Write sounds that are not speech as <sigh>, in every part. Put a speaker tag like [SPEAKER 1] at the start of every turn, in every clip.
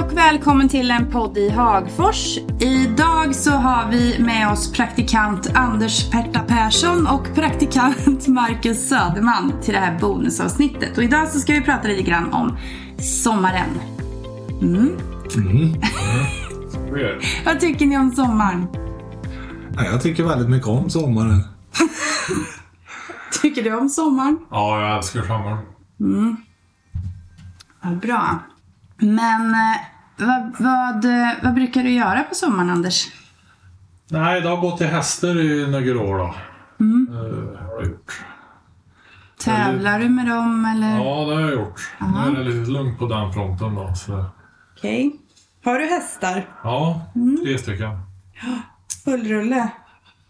[SPEAKER 1] och välkommen till en podd i Hagfors. Idag så har vi med oss praktikant Anders Perta Persson och praktikant <laughs> Marcus Söderman till det här bonusavsnittet. Och idag så ska vi prata lite grann om sommaren. Mm. Vad tycker ni om sommaren?
[SPEAKER 2] Ja, Jag tycker väldigt mycket om sommaren.
[SPEAKER 1] Tycker du om sommaren?
[SPEAKER 3] Ja, jag älskar sommaren.
[SPEAKER 1] Vad bra. Men eh, vad, vad, eh, vad brukar du göra på sommaren Anders?
[SPEAKER 3] Nej, det har gått till hästar i några år då. Eh, har jag gjort.
[SPEAKER 1] Tävlar du med dem eller?
[SPEAKER 3] Ja, det har jag gjort. Nu är det lite lugnt på den fronten då. Så.
[SPEAKER 1] Okej.
[SPEAKER 4] Har du hästar?
[SPEAKER 3] Ja, tre stycken.
[SPEAKER 4] Full rulle?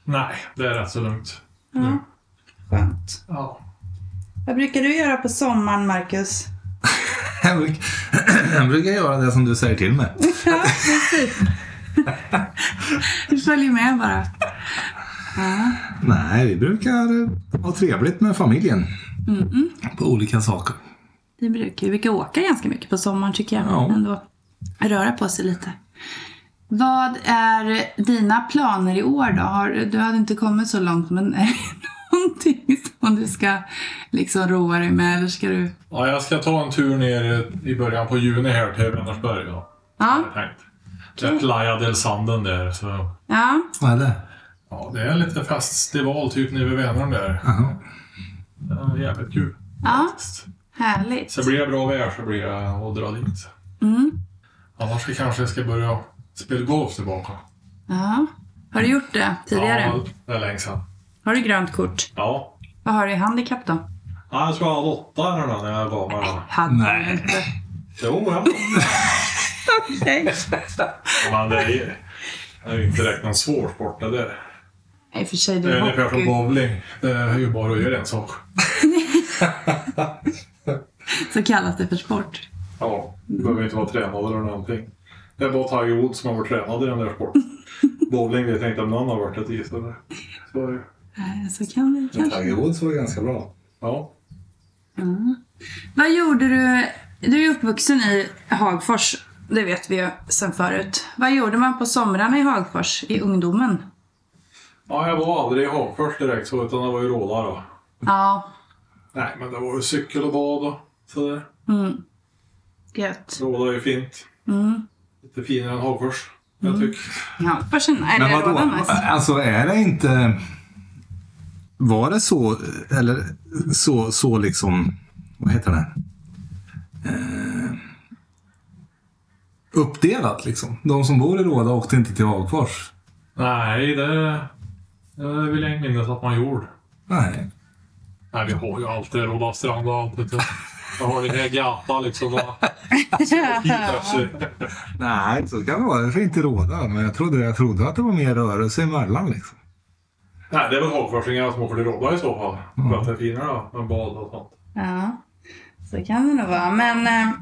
[SPEAKER 3] Nej, det är rätt så lugnt. Mm.
[SPEAKER 4] Ja. Skönt.
[SPEAKER 3] Ja.
[SPEAKER 4] Vad brukar du göra på sommaren, Marcus?
[SPEAKER 2] Jag bruk- <clears throat> jag brukar göra det som du säger till mig.
[SPEAKER 1] Du följer med bara.
[SPEAKER 2] Nej, vi brukar eh, ha trevligt med familjen. På olika saker.
[SPEAKER 1] Det brukar vi. brukar åka ganska mycket på sommaren tycker jag.
[SPEAKER 2] Ja.
[SPEAKER 1] Ändå röra på sig lite. Vad är dina planer i år då? Har, du hade inte kommit så långt men är det <laughs> någonting som du ska liksom roa dig med eller ska du?
[SPEAKER 3] ja, jag ska ta en tur ner i början på juni här till Vänersberg då.
[SPEAKER 1] Ja,
[SPEAKER 3] har jag tänkt. Det är Playa del Sanden där. Så.
[SPEAKER 1] ja.
[SPEAKER 2] Vad är det?
[SPEAKER 3] Ja, det är lite festival typ nere vid Vänern där.
[SPEAKER 2] Jaha.
[SPEAKER 3] Det är jävligt kul.
[SPEAKER 1] ja.
[SPEAKER 3] faktiskt.
[SPEAKER 1] Härligt.
[SPEAKER 3] Så blir det bra väder så blir jag att dra dit.
[SPEAKER 1] Mm.
[SPEAKER 3] Annars så kanske jag ska börja spela golf tillbaka.
[SPEAKER 1] Ja. Har du gjort det tidigare?
[SPEAKER 3] Ja, det är länge sedan.
[SPEAKER 1] Har du grönt kort?
[SPEAKER 3] Ja.
[SPEAKER 1] Vad har du i handikapp då?
[SPEAKER 3] ja. Jag tror jag hade åtta här då, när jag var med. då.
[SPEAKER 1] Hade du
[SPEAKER 2] Nej.
[SPEAKER 1] inte.
[SPEAKER 4] <laughs>
[SPEAKER 3] Jo, ja. Men det är ju det är ju inte direkt någon svår sport det där.
[SPEAKER 1] Nej, i och för sig,
[SPEAKER 3] Det
[SPEAKER 1] du
[SPEAKER 3] är
[SPEAKER 1] är
[SPEAKER 3] ungefär som
[SPEAKER 1] hockey.
[SPEAKER 3] bowling. Det är ju bara att göra en sak.
[SPEAKER 1] Så kallas det för sport.
[SPEAKER 3] Ja, du behöver inte vara tränad eller någonting. Det är bara Tiger Woods som har varit tränad i den där sporten. Bowling vet jag inte om någon har varit ett is eller. Så är det.
[SPEAKER 1] Nej, Eh, Så kan det kanske.
[SPEAKER 2] Tiger Woods var ganska bra.
[SPEAKER 3] Ja.
[SPEAKER 1] Vad gjorde du? Du är ju uppvuxen i Hagfors. Det vet vi ju sen förut. Vad gjorde man på somrarna i Hagfors i ungdomen?
[SPEAKER 3] ja, jag var aldrig i Hagfors direkt så, utan det var ju Råda då.
[SPEAKER 1] Ja,
[SPEAKER 3] Nej, men det var ju cykel och bad och sådär.
[SPEAKER 1] gött.
[SPEAKER 3] Råda är ju fint. Mm. Lite finare än Hagfors, jag tycker.
[SPEAKER 1] I Hagfors? Nej,
[SPEAKER 2] Men
[SPEAKER 1] det
[SPEAKER 2] vadå?
[SPEAKER 1] var nice.
[SPEAKER 2] Alltså är det inte... Var det så, eller så, så liksom... Vad heter det? Eh, Uppdelat liksom. De som bor i Råda åkte inte till Hagfors.
[SPEAKER 3] Nej, det, det vill jag inte minnas att man gjorde.
[SPEAKER 2] Nej.
[SPEAKER 3] Nej, vi har ju alltid Råda strand och allt. vet du. Jag har ju regatta liksom. va.
[SPEAKER 2] Nej, så kan det vara. Det är inte råda. Men jag trodde, jag trodde att det var mer rörelse emellan. Liksom.
[SPEAKER 3] <laughs> Nej, det är väl Hagforsingarna som åker till Råda i så fall. För att det är finare då, med bad och sånt.
[SPEAKER 1] Ja, så kan det nog vara. Men eh,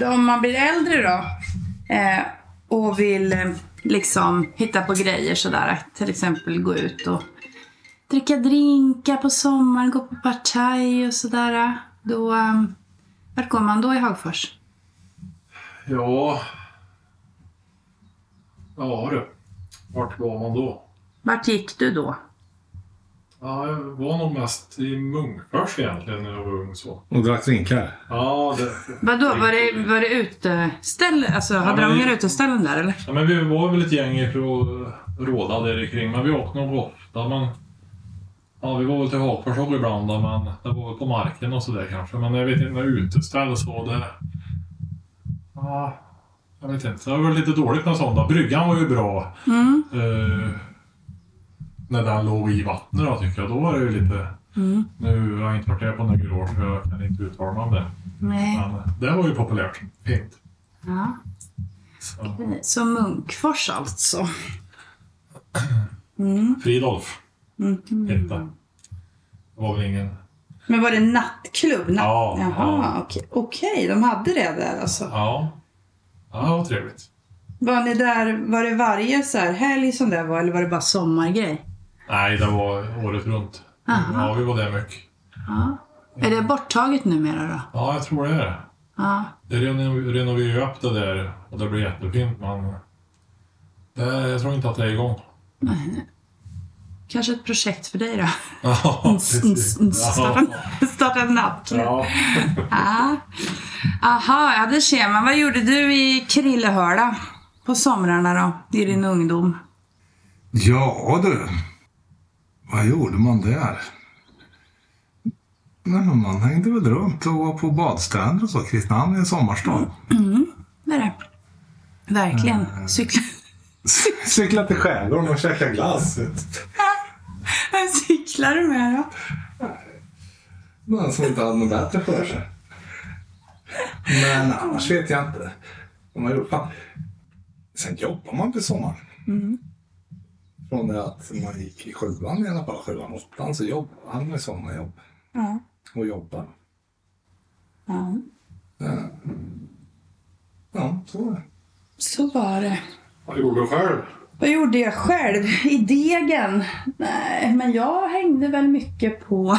[SPEAKER 1] ja, om man blir äldre då eh, och vill eh, liksom hitta på grejer sådär. Till exempel gå ut och dricka drinkar på sommaren, gå på partaj och sådär. Då, eh, vart går man då i Hagfors?
[SPEAKER 3] Ja... Ja du. Vart var man då?
[SPEAKER 1] Vart gick du då?
[SPEAKER 3] Ja, jag var nog mest i Munkfors egentligen när jag var ung så.
[SPEAKER 2] Och drack drinkar.
[SPEAKER 3] Ja, det,
[SPEAKER 1] Vadå, var det, var det uteställe? Alltså, hade
[SPEAKER 3] men-
[SPEAKER 1] de mer uteställen där eller?
[SPEAKER 3] Ja, men vi var väl ett gäng ifrån Råda där i kring, men vi åkte nog ofta. Men, ja, vi var väl till Hagforshåll ibland, då, men det var väl på marken och sådär kanske. Men jag vet inte, några uteställ så det... Ja, jag vet inte. Det var väl lite dåligt med sånt. då. Bryggan var ju bra. Eh, när den låg i vattnet då, tycker jag. Då var det ju lite... Nu har jag inte varit där på några år, så jag kan inte uttala mig om det.
[SPEAKER 1] Nej.
[SPEAKER 3] Men det var ju populärt. Fint.
[SPEAKER 1] Ja.
[SPEAKER 3] Så.
[SPEAKER 1] Så Munkfors alltså.
[SPEAKER 3] Fridolf
[SPEAKER 1] Mm.
[SPEAKER 3] hette han. Det var väl ingen...
[SPEAKER 4] Men var det nattklubb? Natt...
[SPEAKER 3] Ja,
[SPEAKER 4] Jaha, okej. Okej, de hade det där alltså.
[SPEAKER 3] Ja. Ja, vad trevligt.
[SPEAKER 4] Var ni där, var det varje så här helg som det var eller var det bara
[SPEAKER 1] Sommargrej.
[SPEAKER 3] Nej, det var året runt. Ja, vi var där mycket.
[SPEAKER 1] Är det borttaget numera då?
[SPEAKER 3] Ja, jag tror det är det.
[SPEAKER 1] Ja.
[SPEAKER 3] Det reno- renoverade ju upp det där och det blev jättefint men det, jag tror inte att det är igång. <laughs>
[SPEAKER 1] Kanske ett projekt för dig då?
[SPEAKER 3] Ja,
[SPEAKER 1] Uns, uns, uns.
[SPEAKER 3] precis.
[SPEAKER 1] <laughs> Starta, starta en natt.
[SPEAKER 3] Ja.
[SPEAKER 1] Ah. Aha, ja det ser man. Vad gjorde du i Krillehörda på somrarna då, i din ungdom?
[SPEAKER 2] Ja du. Vad gjorde man där? Nej, men man hängde väl runt och var på badstränder och så. Kristinehamn är en sommarstad.
[SPEAKER 1] Vad är det?
[SPEAKER 3] Mm.
[SPEAKER 1] Verkligen. Cykla,
[SPEAKER 2] <laughs>
[SPEAKER 1] <laughs>
[SPEAKER 2] Cykla till skärgården och käka glass.
[SPEAKER 1] vad cyklar du med då?
[SPEAKER 2] Man som inte hade något bättre för sig. Men annars vet jag inte. De har gjort fan. Sen jobbar man på sommaren. Från det att man gick i sjuan i alla fall, sjuan, åttan, så jobb, hade man ju sommarjobb.
[SPEAKER 1] Ja.
[SPEAKER 2] Och jobbar.
[SPEAKER 1] ja.
[SPEAKER 2] Ja, så är det.
[SPEAKER 1] Så var det.
[SPEAKER 3] Vad gjorde du själv?
[SPEAKER 1] Vad gjorde jag själv? I degen? Nej, men jag hängde väl mycket på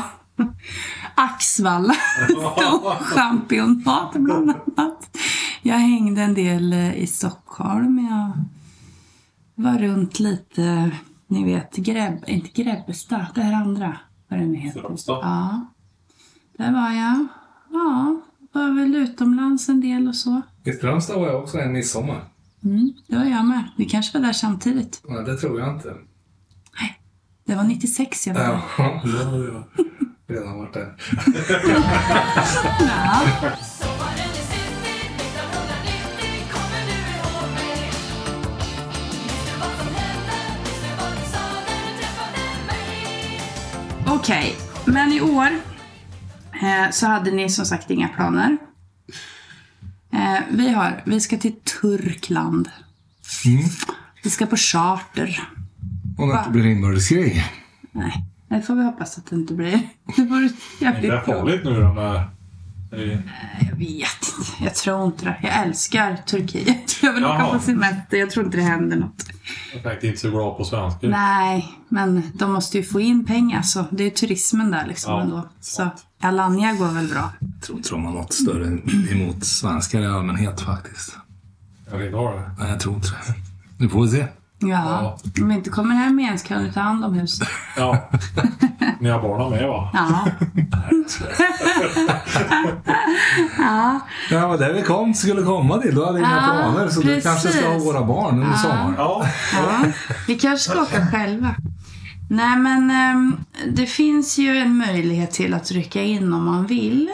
[SPEAKER 1] <laughs> Axvalla storchampionat bland annat. Jag hängde en del eh, i Stockholm. Jag var runt lite, ni vet, Greb, inte Grebbestad, det här andra, vad det nu heter.
[SPEAKER 3] Strömstad.
[SPEAKER 1] Ja, där var jag. Ja, var väl utomlands en del och så.
[SPEAKER 2] I Strömstad var jag också en midsommar.
[SPEAKER 1] Mm, det var jag med. Vi kanske var där samtidigt.
[SPEAKER 2] Nej, det tror jag inte.
[SPEAKER 1] Det var 96 jag var där.
[SPEAKER 2] Ja, då hade jag redan varit där.
[SPEAKER 5] Sommaren i city 1990 kommer du ihåg mig? Visste du vad som hände? Visste du vad du sa när du träffade mig?
[SPEAKER 1] Okej, men i år eh, så hade ni som sagt inga planer. Eh, vi, har, vi ska till Turkland.
[SPEAKER 3] Mm.
[SPEAKER 1] Vi ska på charter.
[SPEAKER 2] Om det inte blir inbördeskrig.
[SPEAKER 1] Nej, det får vi hoppas att det inte blir. <laughs> Det vore
[SPEAKER 3] Det
[SPEAKER 1] jävligt
[SPEAKER 3] är
[SPEAKER 1] bra.
[SPEAKER 3] farligt nu då med... i-
[SPEAKER 1] Jag vet inte. Jag tror inte det. Jag älskar Turkiet. <laughs> Jag vill åka
[SPEAKER 3] Jaha.
[SPEAKER 1] på semester. Jag tror inte det händer något.
[SPEAKER 3] Jag tänkte inte så glad på svenskar.
[SPEAKER 1] Nej, men de måste ju få in pengar. Så det är ju turismen där liksom
[SPEAKER 3] Ja,
[SPEAKER 1] ändå. Så Alanya går väl bra.
[SPEAKER 2] Jag tror inte de har något större emot svenskar i allmänhet faktiskt.
[SPEAKER 3] Jag vill inte ha det.
[SPEAKER 2] Nej, jag tror inte det. Nu får vi se.
[SPEAKER 1] Ja, om vi inte kommer hem igen så kan du ta hand om huset. <laughs>
[SPEAKER 3] Ja. Ni har barnen med va?
[SPEAKER 1] Ja.
[SPEAKER 2] Ja, vad det vi kom skulle komma till. Du hade inga
[SPEAKER 1] Ja,
[SPEAKER 2] planer. Så du
[SPEAKER 1] precis.
[SPEAKER 2] kanske ska ha våra barn under sommaren.
[SPEAKER 3] Ja.
[SPEAKER 1] ja. Vi kanske ska åka själva. Nej, men ehm, det finns ju en möjlighet till att rycka in om man vill.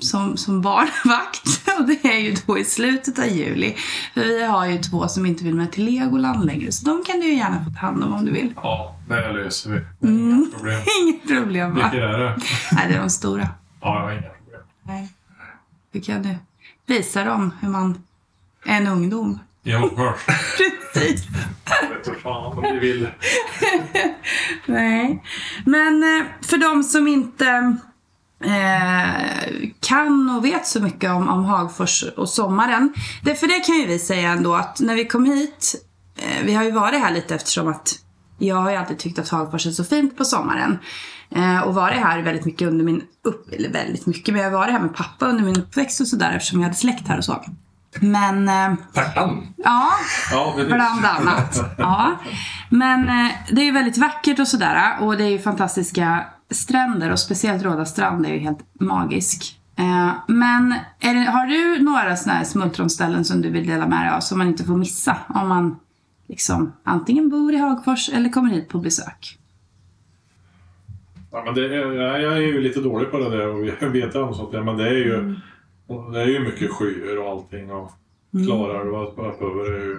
[SPEAKER 1] Som, som barnvakt. <laughs> Och det är ju då i slutet av juli. För vi har ju två som inte vill med till Legoland längre. Så de kan du ju gärna få ta hand om om du vill. <laughs>
[SPEAKER 3] Ja, det löser vi. Det är
[SPEAKER 1] Mm.
[SPEAKER 3] Inga problem.
[SPEAKER 1] Inget problem va?
[SPEAKER 3] Vilket är det?
[SPEAKER 1] Nej, det är de stora.
[SPEAKER 3] Ja, jag har inga problem.
[SPEAKER 1] Nej. Du kan du visa dem hur man är en ungdom.
[SPEAKER 3] Jag först.
[SPEAKER 1] <laughs> Precis.
[SPEAKER 3] Vete fan om vi vill.
[SPEAKER 1] Nej. Men eh, för de som inte eh, kan och vet så mycket om, om Hagfors och sommaren. Det, för det kan ju vi säga ändå att när vi kom hit, eh, vi har ju varit här lite eftersom att jag har ju alltid tyckt att Hagfors är så fint på sommaren. Eh, och varit här väldigt mycket under min upp, eller väldigt mycket, men jag har varit här med pappa under min uppväxt och sådär eftersom jag hade släkt här och så. Men eh,
[SPEAKER 2] Pärtan.
[SPEAKER 1] ja,
[SPEAKER 3] Ja, precis.
[SPEAKER 1] Bland annat. Ja. Men eh, det är ju väldigt vackert och sådär. Och det är ju fantastiska stränder. Och speciellt Råda strand är ju helt magisk. Eh, men är det, har du några sådana här smultronställen som du vill dela med dig av som man inte får missa om man liksom antingen bor i Hagfors eller kommer hit på besök?
[SPEAKER 3] Ja, men det är, nej, jag är ju lite dålig på det där och jag vet om sånt där. Men det är ju,
[SPEAKER 1] Mm.
[SPEAKER 3] det är ju mycket skyar och allting. Och Klarälvar uppöver är ju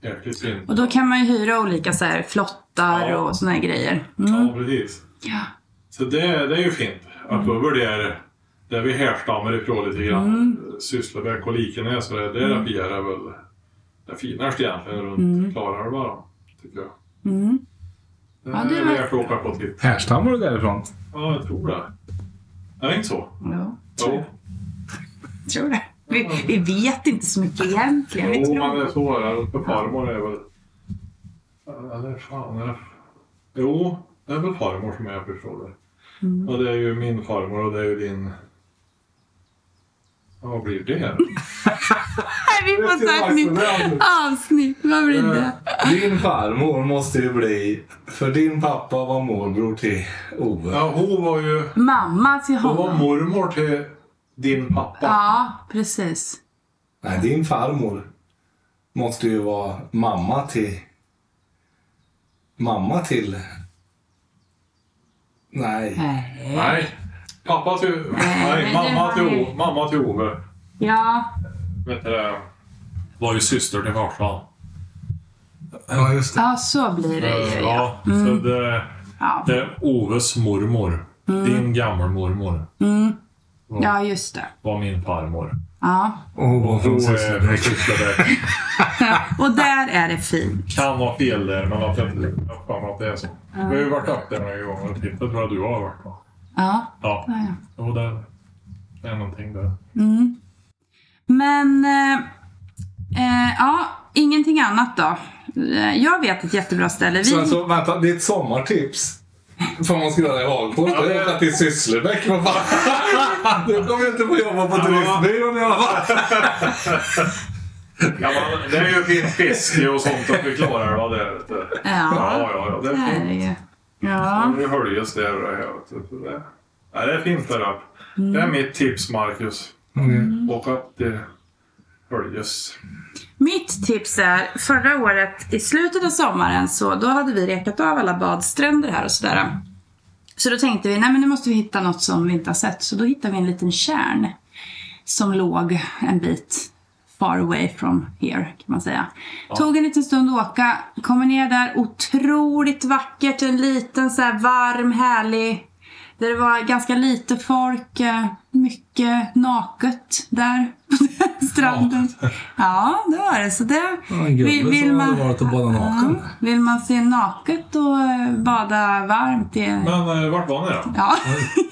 [SPEAKER 3] jäkligt fint.
[SPEAKER 1] Mm. Och då kan man ju hyra olika så här flottar
[SPEAKER 3] Ja.
[SPEAKER 1] och sådana här grejer. Mm.
[SPEAKER 3] Ja, precis.
[SPEAKER 1] Ja.
[SPEAKER 3] Så det, det är ju fint. Uppöver det är där vi härstammar ifrån lite grann. Sysslebäck och Likenäs och det där mm. är väl det finaste egentligen runt Klarälvar. då, Tycker jag. Eh,
[SPEAKER 1] Mm. Ja,
[SPEAKER 3] Ja,
[SPEAKER 1] det
[SPEAKER 3] det är
[SPEAKER 1] var-
[SPEAKER 3] värt att åka på och titta.
[SPEAKER 2] Härstammar du därifrån?
[SPEAKER 3] Ja, jag tror det. Är det inte så?
[SPEAKER 1] Ja,
[SPEAKER 3] Jo.
[SPEAKER 1] tror det. Vi, vi vet inte så mycket egentligen. Vi
[SPEAKER 3] Jo,
[SPEAKER 1] tror
[SPEAKER 3] men det är så är det. För farmor är väl... Eller fan är det... Jo, det är väl farmor som
[SPEAKER 1] Mm.
[SPEAKER 3] jag förstår det. Och det är ju min farmor och det är ju din... Vad
[SPEAKER 1] <laughs>
[SPEAKER 3] blir det?
[SPEAKER 1] Nej, vi får
[SPEAKER 2] Det är
[SPEAKER 1] ett
[SPEAKER 2] till
[SPEAKER 1] avsnitt.
[SPEAKER 2] Maxwell.
[SPEAKER 1] Avsnitt, vad blir det?
[SPEAKER 2] Eh, Din farmor måste ju bli... För din pappa var morbror till Ove.
[SPEAKER 3] Ja, hon var ju...
[SPEAKER 1] Mamma till
[SPEAKER 3] Hon var
[SPEAKER 1] honom.
[SPEAKER 3] mormor till din pappa.
[SPEAKER 1] Ja, precis.
[SPEAKER 2] Nej, din farmor måste ju vara mamma till... Mamma till... Nej.
[SPEAKER 1] Nej.
[SPEAKER 3] Nej. Pappa till...
[SPEAKER 1] men
[SPEAKER 3] Nej, mamma
[SPEAKER 1] det
[SPEAKER 3] till,
[SPEAKER 1] var ju-
[SPEAKER 3] O- mamma till Ove.
[SPEAKER 1] Ja,
[SPEAKER 3] Vet du det? Var ju syster till farsan.
[SPEAKER 2] Ja, just det.
[SPEAKER 1] ja, så blir det ju. Ja. Mm.
[SPEAKER 3] Ja, så det,
[SPEAKER 1] Ja. Mm.
[SPEAKER 3] det är Oves mormor. Din gammelmormor
[SPEAKER 1] ja, just det.
[SPEAKER 3] var min farmor.
[SPEAKER 1] Ja.
[SPEAKER 2] Ove var
[SPEAKER 3] Hon
[SPEAKER 2] från
[SPEAKER 3] är från
[SPEAKER 2] Sysslebäck.
[SPEAKER 3] Sysslebäck.
[SPEAKER 1] Och där är det fint.
[SPEAKER 3] <laughs> Kan vara fel där, men att jag jag har för mig att det är så. Vi har ju varit upp där några gånger och tittat. tror jag du har varit va?
[SPEAKER 1] Ja.
[SPEAKER 3] Ja,
[SPEAKER 1] ja, ja.
[SPEAKER 3] jo det det är någonting där.
[SPEAKER 1] Men eh, eh, ja, ingenting annat då. Eh, Jag vet ett jättebra ställe. Vi...
[SPEAKER 2] Så alltså, vänta, ditt sommartips som man ska göra i Hagfors, det är att åka till Sysslebäck. Vad <laughs> fan? Du kommer ju inte få jobba på turistbyrån i alla fall.
[SPEAKER 3] Ja, men det är ju fint fiske och sånt att vi klarar va, det. Vet du.
[SPEAKER 1] Ja,
[SPEAKER 3] Ja, ja, ja. Det
[SPEAKER 1] det
[SPEAKER 3] är
[SPEAKER 1] är det
[SPEAKER 3] fint.
[SPEAKER 1] ju.
[SPEAKER 3] Ja,
[SPEAKER 1] Ja.
[SPEAKER 3] Nu höljes det och det här. vet du, så det- Ja, det är fint där uppe. Det är mitt tips, Marcus. Åk upp till Höljes.
[SPEAKER 1] Mitt tips är, förra året i slutet av sommaren så då hade vi rekat av alla badstränder här och sådär. Så då tänkte vi, nej men nu måste vi hitta något som vi inte har sett. Så då hittade vi en liten kärn som låg en bit far away from here kan man säga. Tog en liten stund att åka, kommer ner där, otroligt vackert, en liten så här varm, härlig där det var ganska lite folk, eh, mycket naket där på den stranden. Ja, det var det. Så det, vi-
[SPEAKER 2] och badat
[SPEAKER 1] Ja, vill man se naket och eh, bada varmt i
[SPEAKER 3] Men eh, vart var ni då?
[SPEAKER 1] Ja,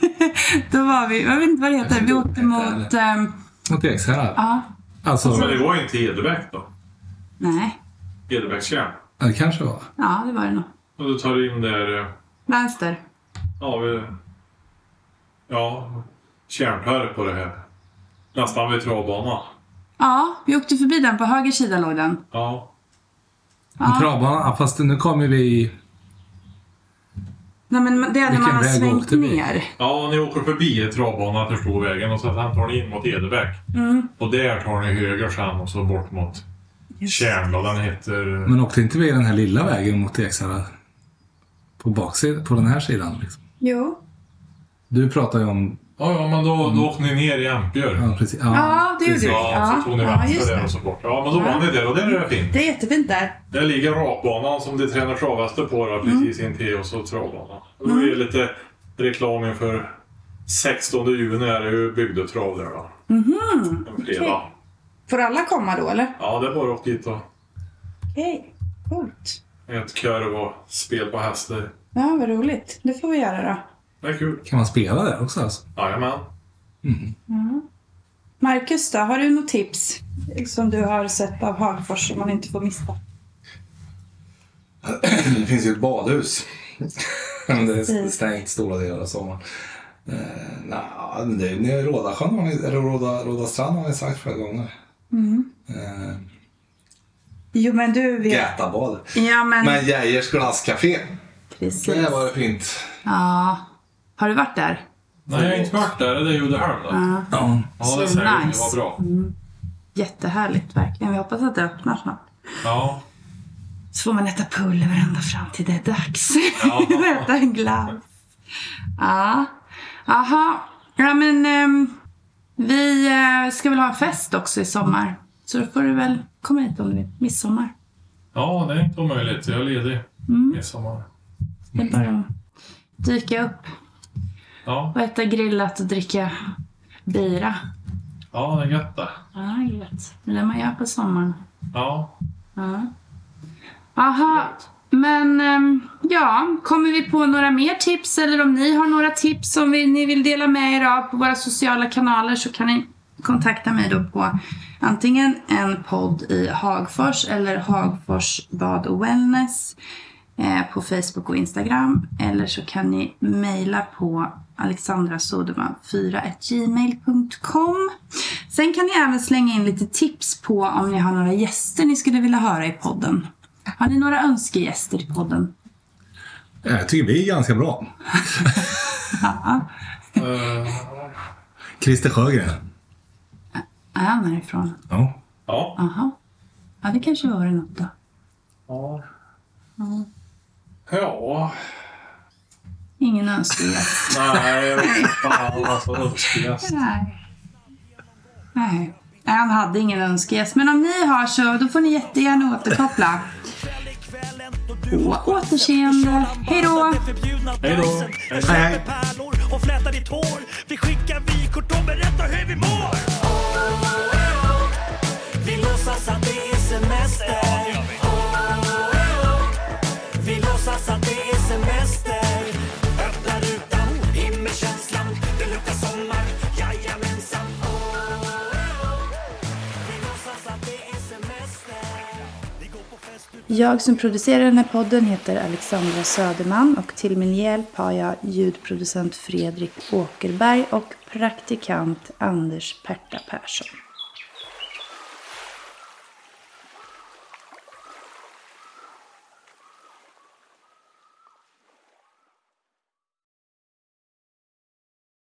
[SPEAKER 1] <laughs> då var vi, jag vet inte vad det heter, vi åkte mot, ehm,
[SPEAKER 2] Mot Ekshärad?
[SPEAKER 1] ja,
[SPEAKER 2] Alltså,
[SPEAKER 3] Men det var ju inte Edebäck då?
[SPEAKER 1] nej,
[SPEAKER 3] Edebäckstjärn.
[SPEAKER 2] det kanske var.
[SPEAKER 1] ja det var det nog.
[SPEAKER 3] Och du tar in där... eh,
[SPEAKER 1] Vänster.
[SPEAKER 3] Ja, vi... Ja, kärnpärr på det här. Nästan vid travbanan.
[SPEAKER 1] Ja, vi åkte förbi den, på höger sida låg den.
[SPEAKER 3] Ja.
[SPEAKER 1] Ja.
[SPEAKER 6] Travbanan, ja, fast nu kommer vi...
[SPEAKER 1] Nej men det är när
[SPEAKER 6] Vilken
[SPEAKER 1] man har
[SPEAKER 6] väg
[SPEAKER 1] svängt
[SPEAKER 6] åkte vi?
[SPEAKER 1] ner.
[SPEAKER 3] ja, ni åker förbi travbanan till Storvägen och sen tar ni in mot Edebäck. Och där tar ni höger sen och så bort mot Tjärn då. Den heter...
[SPEAKER 6] Men åkte inte vi den här lilla vägen mot Ekshärad? På baksidan, på den här sidan liksom.
[SPEAKER 1] Jo.
[SPEAKER 6] Du pratar ju om...
[SPEAKER 3] Ja, ja, men då, då åkte ni ner i Ampjör.
[SPEAKER 6] Ja, precis. Ja.
[SPEAKER 1] Ja, det gjorde vi.
[SPEAKER 3] Ja, så tog ni
[SPEAKER 1] ja,
[SPEAKER 3] vänster
[SPEAKER 1] just
[SPEAKER 3] där
[SPEAKER 1] det.
[SPEAKER 3] och så bort. Ja, men då var ni där och där är det fint.
[SPEAKER 1] Det är jättefint där.
[SPEAKER 3] Där ligger rakbanan som de tränar travhästar på
[SPEAKER 1] Mm.
[SPEAKER 3] då, precis intill och så travbanan. Och Då är det lite reklam inför 16 juni är det ju bygdetrav där då. En fredag.
[SPEAKER 1] Mhm. okej. Får alla komma då eller?
[SPEAKER 3] Ja, det är bara att åka dit och
[SPEAKER 1] Okej, coolt.
[SPEAKER 3] ett körv och spel på hästar.
[SPEAKER 1] Ja, vad roligt. Det får vi göra då.
[SPEAKER 3] Det är kul.
[SPEAKER 6] Kan man spela där också alltså?
[SPEAKER 3] Jajamän.
[SPEAKER 4] Marcus då, har du något tips som du har sett av Hagfors som man inte får missa?
[SPEAKER 2] Det finns ju ett badhus. Men det är stängt stora delar av sommaren. Uh, nah, det, det är Rådasjön, har ni, eller Råda, Råda strand har ni sagt flera gånger. Mm.
[SPEAKER 4] Jo men du vet.
[SPEAKER 2] Gätabad.
[SPEAKER 1] Ja, men,
[SPEAKER 2] Men Geijers glasscafé.
[SPEAKER 1] precis.
[SPEAKER 2] Det var det fint.
[SPEAKER 1] Ja. Har du varit där?
[SPEAKER 3] Nej, jag har inte varit där. Det är Uddevall då.
[SPEAKER 1] Ja.
[SPEAKER 6] Ja.
[SPEAKER 3] Ja,
[SPEAKER 1] Så
[SPEAKER 3] det säger nice.
[SPEAKER 1] nice. Mm.
[SPEAKER 3] Det var bra.
[SPEAKER 1] Jättehärligt verkligen. Vi hoppas att det öppnar snart.
[SPEAKER 3] Ja.
[SPEAKER 1] Så får man äta pulver varenda fram till det är dags. <laughs>
[SPEAKER 3] Ja.
[SPEAKER 1] och äta en glass. Ja. Aha. Ja men ehm, vi eh, ska väl ha en fest också i sommar. Så då får du väl komma hit om du vill. Midsommar.
[SPEAKER 3] ja, det är inte omöjligt. Jag är ledig
[SPEAKER 1] Mm.
[SPEAKER 3] midsommar.
[SPEAKER 1] Det är bara att dyka upp
[SPEAKER 3] Ja,
[SPEAKER 1] och äta grillat och dricka bira.
[SPEAKER 3] ja det är gött det.
[SPEAKER 1] Ja, det är gött. Det är det man gör på sommaren.
[SPEAKER 3] Ja.
[SPEAKER 1] Ja. Aha, men ehm, ja, kommer vi på några mer tips eller om ni har några tips som vi, ni vill dela med er av på våra sociala kanaler så kan ni kontakta mig då på antingen en podd i Hagfors eller Hagfors bad och wellness eh, på Facebook och Instagram eller så kan ni mejla på alexandrasoderman4gmail.com Sen kan ni även slänga in lite tips på om ni har några gäster ni skulle vilja höra i podden. Har ni några önskegäster i podden?
[SPEAKER 6] Jag Eh, tycker vi är ganska bra.
[SPEAKER 1] Ah,
[SPEAKER 3] Eh,
[SPEAKER 6] Christer Sjögren.
[SPEAKER 1] Är han härifrån?
[SPEAKER 6] Ja.
[SPEAKER 3] ja.
[SPEAKER 1] Aha. Ja, det kanske vore något då.
[SPEAKER 3] Ja. Ja.
[SPEAKER 1] Ingen önskegäst.
[SPEAKER 3] Nej, fan alltså. Önskegäst.
[SPEAKER 1] Nej. Nej. Nej, han hade ingen önskegäst. Men om ni har så då får ni jättegärna återkoppla. På återseende. Hej då!
[SPEAKER 3] Hej då. Hej då.
[SPEAKER 6] Hej, hej.
[SPEAKER 7] pärlor och flätar ditt hår. Vi skickar vykort och berättar hur vi mår. Vi låtsas att det är semester. Vi låtsas att det är semester. Öppna rutan, in med känslan. Det luktar sommar, jajamensan. Vi låtsas att det är semester. Vi går på fest ut
[SPEAKER 4] Jag som producerar den här podden heter Alexandra Söderman och till min hjälp har jag ljudproducent Fredrik Åkerberg och praktikant Anders Perta Persson.